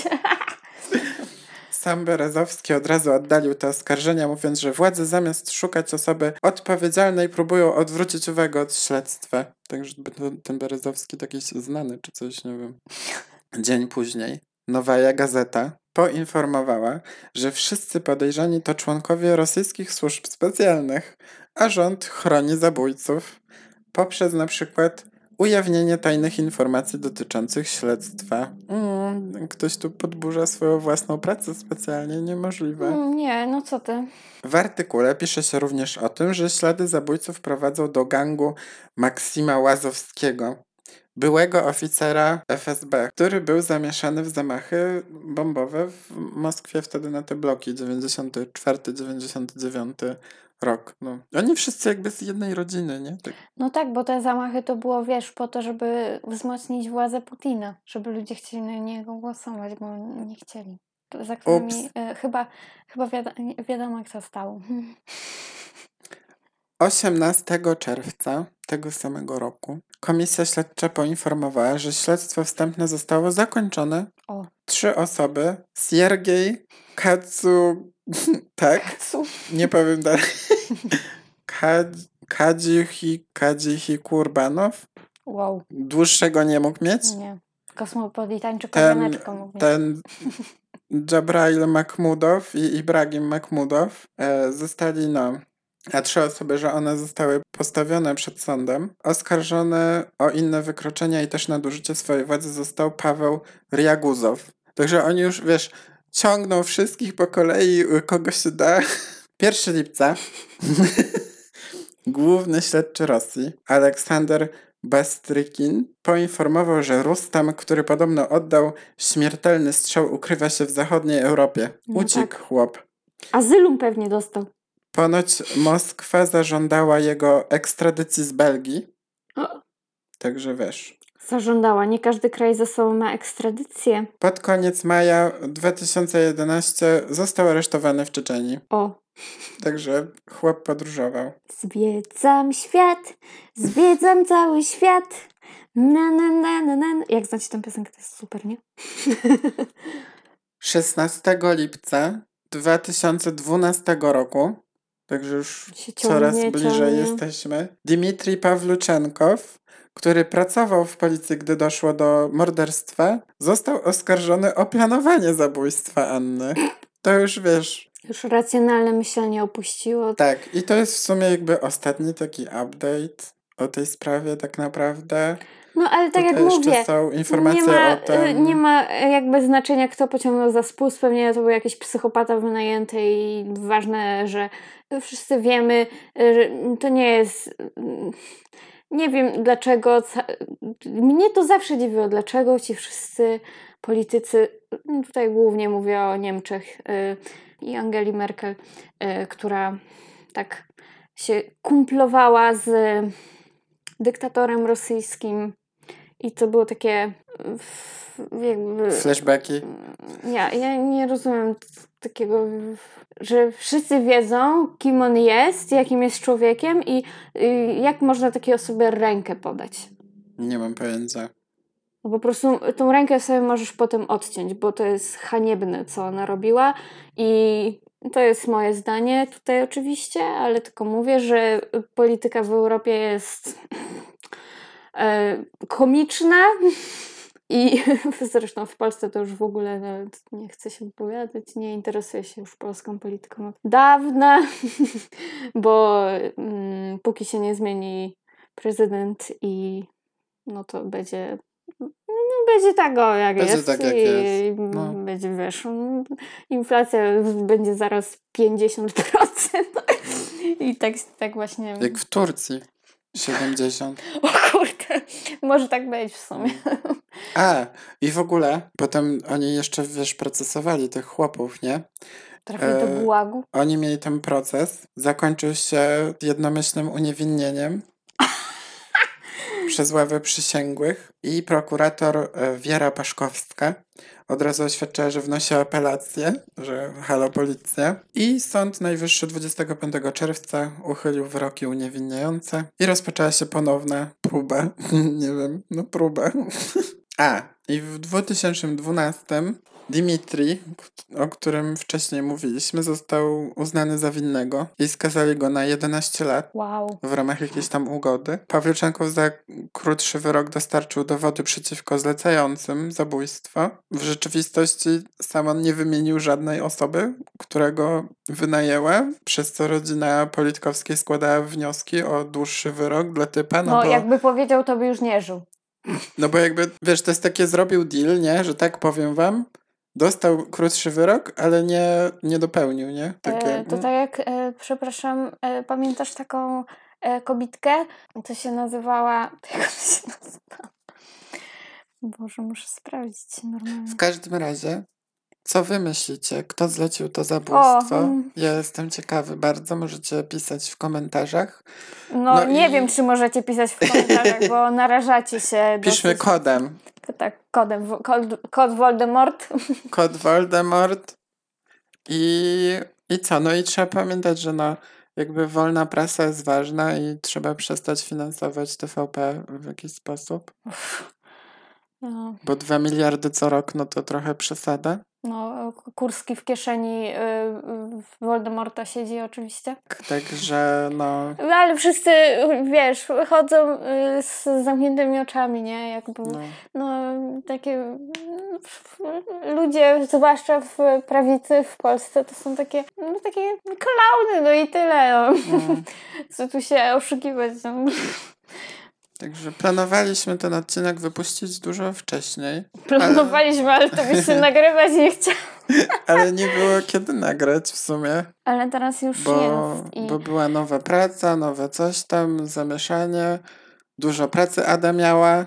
[SPEAKER 1] sam Berezowski od razu oddalił te oskarżenia, mówiąc, że władze zamiast szukać osoby odpowiedzialnej, próbują odwrócić uwagę od śledztwa. Także ten- ten Berezowski taki się znany czy coś, nie wiem. Dzień później Nowaja Gazeta poinformowała, że wszyscy podejrzani to członkowie rosyjskich służb specjalnych, a rząd chroni zabójców poprzez na przykład ujawnienie tajnych informacji dotyczących śledztwa. Mm, ktoś tu podburza swoją własną pracę specjalnie, niemożliwe.
[SPEAKER 2] Mm, Nie, no co ty.
[SPEAKER 1] W artykule pisze się również o tym, że ślady zabójców prowadzą do gangu Maksima Łazowskiego, byłego oficera FSB, który był zamieszany w zamachy bombowe w Moskwie wtedy na te bloki 94-99 rok. No. Oni wszyscy jakby z jednej rodziny, nie? Tak.
[SPEAKER 2] No tak, bo te zamachy to było, wiesz, po to, żeby wzmocnić władzę Putina, żeby ludzie chcieli na niego głosować, bo nie chcieli. To Za którymi
[SPEAKER 1] Ups.
[SPEAKER 2] e, chyba, chyba wiada- nie- wiadomo, kto stał.
[SPEAKER 1] 18 czerwca tego samego roku komisja śledcza poinformowała, że śledztwo wstępne zostało zakończone.
[SPEAKER 2] O.
[SPEAKER 1] Trzy osoby, Siergiej, Katsu, (laughs) tak, nie powiem dalej, Kadzi- Kadzihi, Kadzihi Kurbanow,
[SPEAKER 2] Wow,
[SPEAKER 1] dłuższego nie mógł mieć,
[SPEAKER 2] nie. Kosmopolitan czy
[SPEAKER 1] ten,
[SPEAKER 2] kolaneczko mówię.
[SPEAKER 1] ten Jabrail Mahmudow i Ibrahim Mahmudow e, zostali, no, a trzy osoby, że one zostały postawione przed sądem, oskarżone o inne wykroczenia i też nadużycie swojej władzy został Paweł Riaguzow. Także oni już, wiesz, ciągną wszystkich po kolei, y, kogo się da. 1
[SPEAKER 2] (laughs)
[SPEAKER 1] lipca główny śledczy Rosji, Aleksander Bastrykin, poinformował, że Rustam, który podobno oddał śmiertelny strzał, ukrywa się w zachodniej Europie.
[SPEAKER 2] No
[SPEAKER 1] Uciekł
[SPEAKER 2] tak.
[SPEAKER 1] chłop.
[SPEAKER 2] Azylum pewnie dostał.
[SPEAKER 1] Ponoć Moskwa zażądała jego ekstradycji z Belgii.
[SPEAKER 2] O.
[SPEAKER 1] Także wiesz.
[SPEAKER 2] Zażądała. Nie każdy kraj ze sobą ma ekstradycję.
[SPEAKER 1] Pod koniec maja 2011 został aresztowany w Czeczenii.
[SPEAKER 2] O,
[SPEAKER 1] Także chłop podróżował.
[SPEAKER 2] Zwiedzam świat, zwiedzam cały świat. Na, na, na, na, na. Jak znacie tę piosenkę, to jest
[SPEAKER 1] (laughs)
[SPEAKER 2] super, nie?
[SPEAKER 1] 16 lipca 2012 roku. Także już
[SPEAKER 2] Się ciągnie,
[SPEAKER 1] coraz bliżej
[SPEAKER 2] ciągnie.
[SPEAKER 1] jesteśmy. Dmitrij Pawluczenkow, który pracował w policji, gdy doszło do morderstwa, został oskarżony o planowanie zabójstwa Anny. To już wiesz.
[SPEAKER 2] Już racjonalne myślenie opuściło.
[SPEAKER 1] Tak, i to jest w sumie jakby ostatni taki update o tej sprawie tak naprawdę.
[SPEAKER 2] No ale tak jak
[SPEAKER 1] Tutaj jeszcze
[SPEAKER 2] mówię,
[SPEAKER 1] są informacje
[SPEAKER 2] nie ma,
[SPEAKER 1] o tym.
[SPEAKER 2] y, nie ma y, jakby znaczenia, kto pociągnął za spust. Pewnie to był jakiś psychopata wynajęty i ważne, że wszyscy wiemy, y, że to nie jest... y, Nie wiem dlaczego. ca- Mnie to zawsze dziwiło, dlaczego ci wszyscy politycy, y, tutaj głównie mówię o Niemczech y, i Angeli Merkel, y, która tak się kumplowała z dyktatorem rosyjskim i to było takie w- jakby...
[SPEAKER 1] Flashbacki.
[SPEAKER 2] Ja, ja nie rozumiem t- takiego, że wszyscy wiedzą, kim on jest, jakim jest człowiekiem i y, jak można takiej osobie rękę podać.
[SPEAKER 1] Nie mam pojęcia.
[SPEAKER 2] No po prostu tą rękę sobie możesz potem odciąć, bo to jest haniebne, co ona robiła. I to jest moje zdanie tutaj oczywiście, ale tylko mówię, że polityka w Europie jest e, komiczna (laughs) I (laughs) zresztą w Polsce to już w ogóle nawet nie chcę się wypowiadać, nie interesuję się już polską polityką od dawna, (laughs) bo mm, póki się nie zmieni prezydent i no to będzie, no będzie tak o jak
[SPEAKER 1] Będzie
[SPEAKER 2] jest.
[SPEAKER 1] tak, jak
[SPEAKER 2] i,
[SPEAKER 1] jest, no.
[SPEAKER 2] Będzie wiesz, mm, inflacja będzie zaraz 50% i tak, tak właśnie...
[SPEAKER 1] Jak w Turcji. 70.
[SPEAKER 2] O kurde, może tak być w sumie.
[SPEAKER 1] A, E, i w ogóle, potem oni jeszcze, wiesz, procesowali tych chłopów, nie?
[SPEAKER 2] Trafi do
[SPEAKER 1] E,
[SPEAKER 2] błagu.
[SPEAKER 1] Oni mieli ten proces, zakończył się jednomyślnym uniewinnieniem przez ławę przysięgłych i prokurator e, Wiera Paszkowska od razu oświadczyła, że wnosi apelację, że halo policja. I Sąd Najwyższy 25 czerwca uchylił wyroki uniewinniające i rozpoczęła się ponowna próba, (laughs) nie wiem, no próba. (laughs) A, i w 2012 Dimitri, k- o którym wcześniej mówiliśmy, został uznany za winnego i skazali go na 11 lat
[SPEAKER 2] Wow.
[SPEAKER 1] w ramach jakiejś tam ugody. Pawliuczenko za krótszy wyrok dostarczył dowody przeciwko zlecającym zabójstwo. W rzeczywistości sam on nie wymienił żadnej osoby, która go wynajęła, przez co rodzina Politkowskiej składała wnioski o dłuższy wyrok dla typa, no,
[SPEAKER 2] No,
[SPEAKER 1] bo...
[SPEAKER 2] jakby powiedział, to by już nie żył.
[SPEAKER 1] No bo jakby, wiesz, to jest takie zrobił deal, nie? Że tak powiem wam, dostał krótszy wyrok, ale nie, nie dopełnił, nie? Takie, mm.
[SPEAKER 2] E, to tak jak, e, przepraszam, e, pamiętasz taką e, kobitkę? To się nazywała... Jak ona się nazywała? Boże, muszę sprawdzić normalnie.
[SPEAKER 1] W każdym razie, co wy myślicie? Kto zlecił to zabójstwo?
[SPEAKER 2] O, mm.
[SPEAKER 1] Ja jestem ciekawy bardzo, możecie pisać w komentarzach.
[SPEAKER 2] No,
[SPEAKER 1] no
[SPEAKER 2] nie
[SPEAKER 1] i-
[SPEAKER 2] wiem, czy możecie pisać w komentarzach, bo narażacie się
[SPEAKER 1] Piszmy
[SPEAKER 2] dosyć...
[SPEAKER 1] kodem.
[SPEAKER 2] Tak, kodem. wo- Kod, kod Voldemort.
[SPEAKER 1] Kod Voldemort i, i co? No i trzeba pamiętać, że no, jakby wolna prasa jest ważna i trzeba przestać finansować TVP w jakiś sposób.
[SPEAKER 2] No,
[SPEAKER 1] Bo 2 miliardy co rok, no to trochę przesada.
[SPEAKER 2] no, Kurski w kieszeni y, y, Voldemorta siedzi oczywiście.
[SPEAKER 1] Także no.
[SPEAKER 2] No ale wszyscy, wiesz, chodzą y, z zamkniętymi oczami, nie? Jakby,
[SPEAKER 1] no.
[SPEAKER 2] no, takie mm, f- ludzie, zwłaszcza w prawicy w Polsce, to są takie, no, takie klauny, no i tyle, no.
[SPEAKER 1] Mm.
[SPEAKER 2] Co tu się oszukiwać, no.
[SPEAKER 1] Także planowaliśmy ten odcinek wypuścić dużo wcześniej,
[SPEAKER 2] Planowaliśmy, ale to (laughs) by się nagrywać nie chciało.
[SPEAKER 1] ale nie było kiedy nagrać w sumie,
[SPEAKER 2] Ale teraz już
[SPEAKER 1] bo,
[SPEAKER 2] jest i...
[SPEAKER 1] bo była nowa praca, nowe coś tam, zamieszanie. Dużo pracy Ada miała,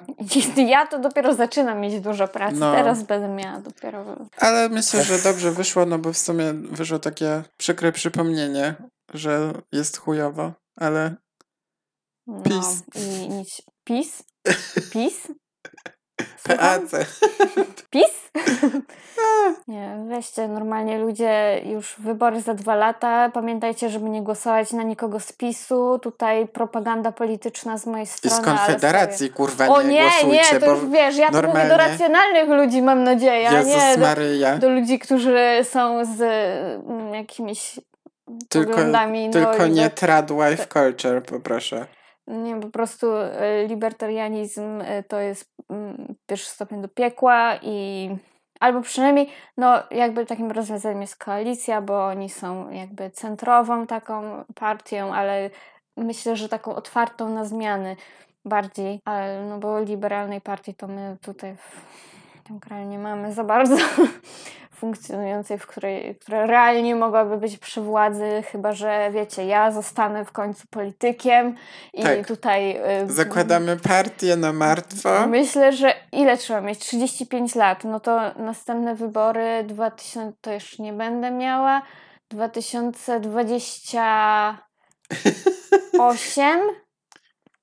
[SPEAKER 2] i Ja to dopiero zaczynam mieć dużo pracy.
[SPEAKER 1] No.
[SPEAKER 2] Teraz będę miała dopiero...
[SPEAKER 1] ale myślę, że dobrze wyszło, no bo w sumie wyszło takie przykre przypomnienie, że jest chujowo, ale
[SPEAKER 2] No,
[SPEAKER 1] Pis.
[SPEAKER 2] i nic. Pis? Pis? Słucham?
[SPEAKER 1] PAC. (laughs)
[SPEAKER 2] PiS? Nie, weźcie normalnie ludzie, już wybory za dwa lata. Pamiętajcie, żeby nie głosować na nikogo z PiSu. Tutaj propaganda polityczna z mojej
[SPEAKER 1] I
[SPEAKER 2] strony.
[SPEAKER 1] z
[SPEAKER 2] ale
[SPEAKER 1] Konfederacji, kurwa,
[SPEAKER 2] sobie- O
[SPEAKER 1] nie,
[SPEAKER 2] nie,
[SPEAKER 1] głosujcie,
[SPEAKER 2] nie, to
[SPEAKER 1] bo
[SPEAKER 2] już wiesz, ja tu mówię do
[SPEAKER 1] normalnie-
[SPEAKER 2] racjonalnych ludzi, mam nadzieję, a nie
[SPEAKER 1] Jezus
[SPEAKER 2] do,
[SPEAKER 1] Maryja.
[SPEAKER 2] do ludzi, którzy są z mm, jakimiś
[SPEAKER 1] Tylko,
[SPEAKER 2] poglądami no
[SPEAKER 1] tylko nie
[SPEAKER 2] neoliber-
[SPEAKER 1] tradwife culture, poproszę.
[SPEAKER 2] Nie, po prostu e, libertarianizm e, to jest mm, pierwszy stopień do piekła i albo przynajmniej, no jakby takim rozwiązaniem jest koalicja, bo oni są jakby centrową taką partią, ale myślę, że taką otwartą na zmiany bardziej, ale no bo liberalnej partii to my tutaj w tym kraju nie mamy za bardzo (laughs) funkcjonującej, w której, która realnie mogłaby być przy władzy, chyba że wiecie, ja zostanę w końcu politykiem i
[SPEAKER 1] Tak.
[SPEAKER 2] tutaj... y,
[SPEAKER 1] Zakładamy partię na martwo.
[SPEAKER 2] Myślę, że ile trzeba mieć? 35 lat. No to następne wybory 2000 to jeszcze nie będę miała. 2028.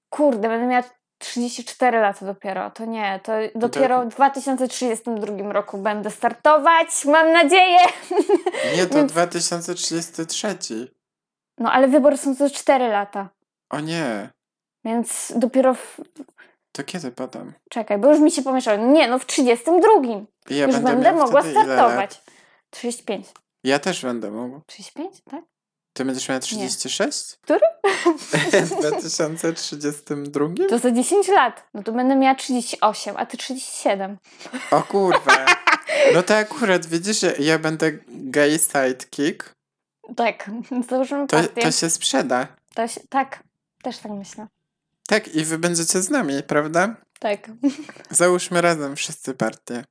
[SPEAKER 2] Kurde, będę miała 34 lata dopiero. To nie, to dopiero
[SPEAKER 1] tak.
[SPEAKER 2] w 2032 roku będę startować. Mam nadzieję.
[SPEAKER 1] Nie, to 2033.
[SPEAKER 2] No ale wybory są co 4 lata.
[SPEAKER 1] O nie,
[SPEAKER 2] Więc dopiero w...
[SPEAKER 1] to kiedy potem?
[SPEAKER 2] Czekaj, bo już mi się pomieszało. Nie, no w 32.
[SPEAKER 1] I Ja
[SPEAKER 2] już będę,
[SPEAKER 1] miał
[SPEAKER 2] mogła
[SPEAKER 1] wtedy ile lat?
[SPEAKER 2] startować. 35.
[SPEAKER 1] Ja też będę mógł. (laughs)
[SPEAKER 2] 35, tak?
[SPEAKER 1] Ty będziesz miała
[SPEAKER 2] (laughs)
[SPEAKER 1] 36?
[SPEAKER 2] Który?
[SPEAKER 1] W 2032?
[SPEAKER 2] To za 10 lat. No to będę miała 38, a ty 37.
[SPEAKER 1] O kurwa.
[SPEAKER 2] (laughs)
[SPEAKER 1] No to akurat, widzisz, ja- ja będę gay sidekick.
[SPEAKER 2] Tak, (laughs) założymy
[SPEAKER 1] To,
[SPEAKER 2] partię.
[SPEAKER 1] to się sprzeda.
[SPEAKER 2] To się... Tak, też tak myślę.
[SPEAKER 1] Tak, i wy będziecie z nami, prawda?
[SPEAKER 2] Tak.
[SPEAKER 1] Załóżmy razem wszyscy partię.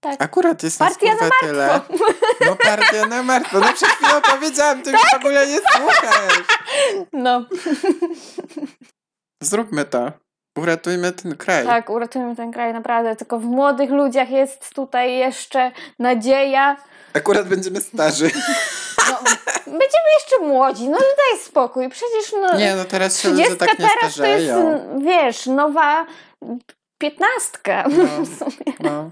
[SPEAKER 2] Tak.
[SPEAKER 1] Akurat jest nas
[SPEAKER 2] Partia na
[SPEAKER 1] kurwa tyle. No partia na martwo. No przed chwilą powiedziałam, ty
[SPEAKER 2] Tak.
[SPEAKER 1] już w ogóle nie słuchasz.
[SPEAKER 2] (laughs) No,
[SPEAKER 1] Zróbmy to. Uratujmy ten kraj.
[SPEAKER 2] tak, uratujmy ten kraj naprawdę. Tylko w młodych ludziach jest tutaj jeszcze nadzieja.
[SPEAKER 1] Akurat będziemy
[SPEAKER 2] (laughs)
[SPEAKER 1] starzy.
[SPEAKER 2] No, będziemy jeszcze młodzi, no daj spokój. Przecież no...
[SPEAKER 1] Nie, no teraz się ludzie
[SPEAKER 2] 30
[SPEAKER 1] tak nie
[SPEAKER 2] teraz to jest,
[SPEAKER 1] starzeją.
[SPEAKER 2] wiesz, nowa piętnastka.
[SPEAKER 1] No.
[SPEAKER 2] (laughs) W sumie.
[SPEAKER 1] No.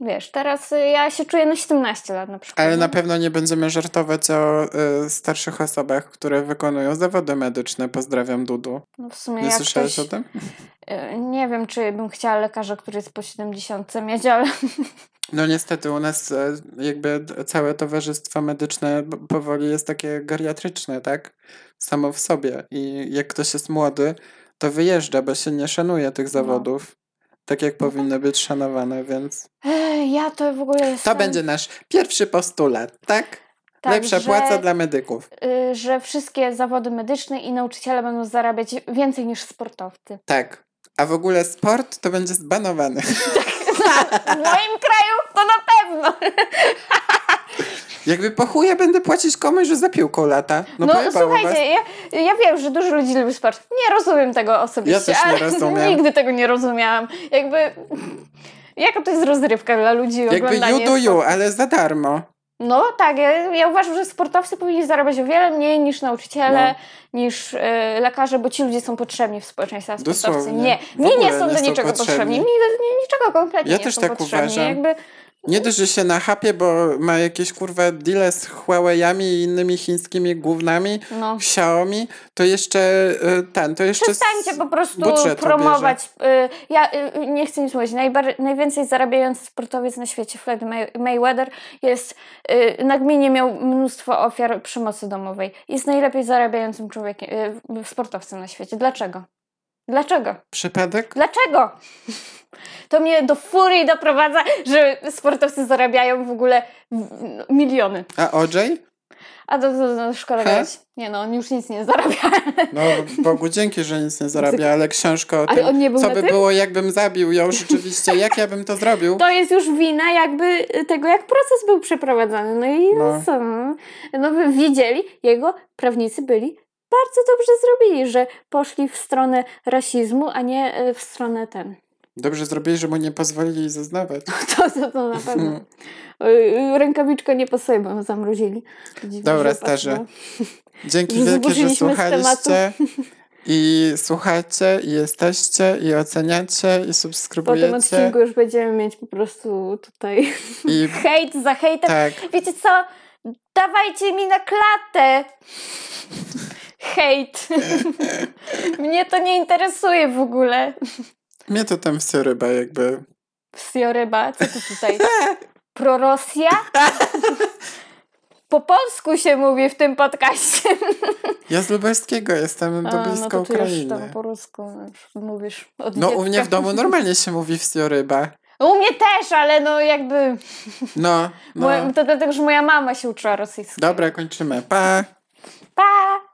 [SPEAKER 2] Wiesz, teraz y, ja się czuję na 17 lat na przykład.
[SPEAKER 1] Ale
[SPEAKER 2] nie?
[SPEAKER 1] na pewno nie będziemy żartować o y, starszych osobach, które wykonują zawody medyczne. Pozdrawiam Dudu.
[SPEAKER 2] No w sumie
[SPEAKER 1] Nie
[SPEAKER 2] jak
[SPEAKER 1] słyszałeś
[SPEAKER 2] ktoś,
[SPEAKER 1] o tym?
[SPEAKER 2] y, Nie wiem, czy bym chciała lekarza, który jest po 70 mieć, ale
[SPEAKER 1] No niestety u nas e, jakby d- całe towarzystwo medyczne b- powoli jest takie geriatryczne, tak? Samo w sobie. I jak ktoś jest młody, to wyjeżdża, bo się nie szanuje
[SPEAKER 2] No.
[SPEAKER 1] tych zawodów. Tak jak powinny być szanowane, więc
[SPEAKER 2] Ej, ja to w ogóle
[SPEAKER 1] to
[SPEAKER 2] jestem...
[SPEAKER 1] będzie nasz pierwszy postulat, tak?
[SPEAKER 2] tak,
[SPEAKER 1] Lepsza
[SPEAKER 2] że,
[SPEAKER 1] płaca dla medyków.
[SPEAKER 2] y, że wszystkie zawody medyczne i nauczyciele będą zarabiać więcej niż sportowcy.
[SPEAKER 1] Tak. A w ogóle sport to będzie zbanowany. (laughs)
[SPEAKER 2] W moim kraju to na pewno.
[SPEAKER 1] Jakby po chuja będę płacić komuś, że za piłką lata. No,
[SPEAKER 2] No,
[SPEAKER 1] pojebało was.
[SPEAKER 2] słuchajcie, ja, ja wiem, że dużo ludzi lubi sport. Nie rozumiem tego
[SPEAKER 1] Ja
[SPEAKER 2] osobiście.
[SPEAKER 1] też nie
[SPEAKER 2] ale
[SPEAKER 1] rozumiem.
[SPEAKER 2] (laughs) Nigdy tego nie rozumiałam. Jakby... Jaka to jest rozrywka dla ludzi
[SPEAKER 1] Jakby
[SPEAKER 2] oglądanie
[SPEAKER 1] you do
[SPEAKER 2] sportu?
[SPEAKER 1] you, ale za darmo.
[SPEAKER 2] No tak, ja, ja uważam, że sportowcy powinni zarabiać o wiele mniej niż nauczyciele, niż y, lekarze, bo ci ludzie są potrzebni w społeczeństwie, a sportowcy
[SPEAKER 1] No. Dosłownie.
[SPEAKER 2] nie.
[SPEAKER 1] W
[SPEAKER 2] Mi nie
[SPEAKER 1] ogóle
[SPEAKER 2] są
[SPEAKER 1] nie
[SPEAKER 2] do
[SPEAKER 1] są
[SPEAKER 2] niczego
[SPEAKER 1] potrzebni.
[SPEAKER 2] potrzebni, mi do ni- niczego kompletnie
[SPEAKER 1] Ja
[SPEAKER 2] nie
[SPEAKER 1] też
[SPEAKER 2] są
[SPEAKER 1] tak
[SPEAKER 2] potrzebni.
[SPEAKER 1] uważam.
[SPEAKER 2] Jakby,
[SPEAKER 1] Nie dość, że się na hapie, bo ma jakieś kurwa deale z Huawei'ami i innymi chińskimi gównami,
[SPEAKER 2] no.
[SPEAKER 1] Xiaomi, to jeszcze y, ten, to jeszcze... s-
[SPEAKER 2] Przestańcie po prostu
[SPEAKER 1] budżet
[SPEAKER 2] promować. y, Ja y, y, nie chcę nic mówić. Najbar- najwięcej zarabiający sportowiec na świecie, Floyd May- Mayweather, jest y, nagminnie miał mnóstwo ofiar przemocy domowej. Jest najlepiej zarabiającym człowiekiem, y, sportowcem na świecie. Dlaczego? Dlaczego?
[SPEAKER 1] Przypadek?
[SPEAKER 2] Dlaczego? (laughs) To mnie do furii doprowadza, że sportowcy zarabiają w ogóle w- no, miliony.
[SPEAKER 1] A OJ?
[SPEAKER 2] A to, to, to szkoda
[SPEAKER 1] He?
[SPEAKER 2] gadać. Nie no, on już nic nie zarabia.
[SPEAKER 1] No Bogu dzięki, że nic nie zarabia, ale książka o
[SPEAKER 2] Ale
[SPEAKER 1] tym,
[SPEAKER 2] on nie był
[SPEAKER 1] co
[SPEAKER 2] na
[SPEAKER 1] by
[SPEAKER 2] tym?
[SPEAKER 1] było, jakbym zabił ją rzeczywiście, jak ja bym
[SPEAKER 2] (laughs)
[SPEAKER 1] to zrobił.
[SPEAKER 2] (laughs) To jest już wina jakby y, tego, jak proces był przeprowadzany. No i
[SPEAKER 1] No.
[SPEAKER 2] no. co? no? No wy widzieli, jego prawnicy byli bardzo dobrze zrobili, że poszli w stronę rasizmu, a nie e, w stronę ten. (laughs)
[SPEAKER 1] Dobrze zrobili, że mu nie pozwolili zeznawać.
[SPEAKER 2] To, to, to na pewno.
[SPEAKER 1] Mhm.
[SPEAKER 2] Yy, Rękawiczkę nie pasuje, bo ją zamrozili. Dziwnie,
[SPEAKER 1] Dobra,
[SPEAKER 2] że
[SPEAKER 1] starzy.
[SPEAKER 2] pasowało.
[SPEAKER 1] Dzięki
[SPEAKER 2] Że
[SPEAKER 1] wielkie, że
[SPEAKER 2] zboczyliśmy z
[SPEAKER 1] słuchaliście. I słuchacie, i jesteście, i oceniacie, i
[SPEAKER 2] Po tym
[SPEAKER 1] subskrybujecie.
[SPEAKER 2] odcinku już będziemy mieć po prostu tutaj (laughs)
[SPEAKER 1] I
[SPEAKER 2] hejt za hejtem.
[SPEAKER 1] tak.
[SPEAKER 2] Wiecie co? Dawajcie mi na klatę! Hejt. (laughs) Mnie to nie interesuje w ogóle.
[SPEAKER 1] Mnie to tam wsy ryba jakby.
[SPEAKER 2] Psioryba, co to
[SPEAKER 1] (laughs)
[SPEAKER 2] tutaj? Prorosja? Po polsku się mówi w tym podcaście.
[SPEAKER 1] Ja z Lubelskiego jestem,
[SPEAKER 2] A,
[SPEAKER 1] bo blisko
[SPEAKER 2] no to ty już tam
[SPEAKER 1] Ukrainy.
[SPEAKER 2] po rusku już mówisz od
[SPEAKER 1] No u mnie w
[SPEAKER 2] dziecka.
[SPEAKER 1] domu normalnie się mówi wsio ryba.
[SPEAKER 2] U mnie też, ale no jakby...
[SPEAKER 1] No, no.
[SPEAKER 2] Moja, to dlatego, że moja mama się uczyła rosyjskiego.
[SPEAKER 1] Dobra, kończymy. Pa!
[SPEAKER 2] Pa!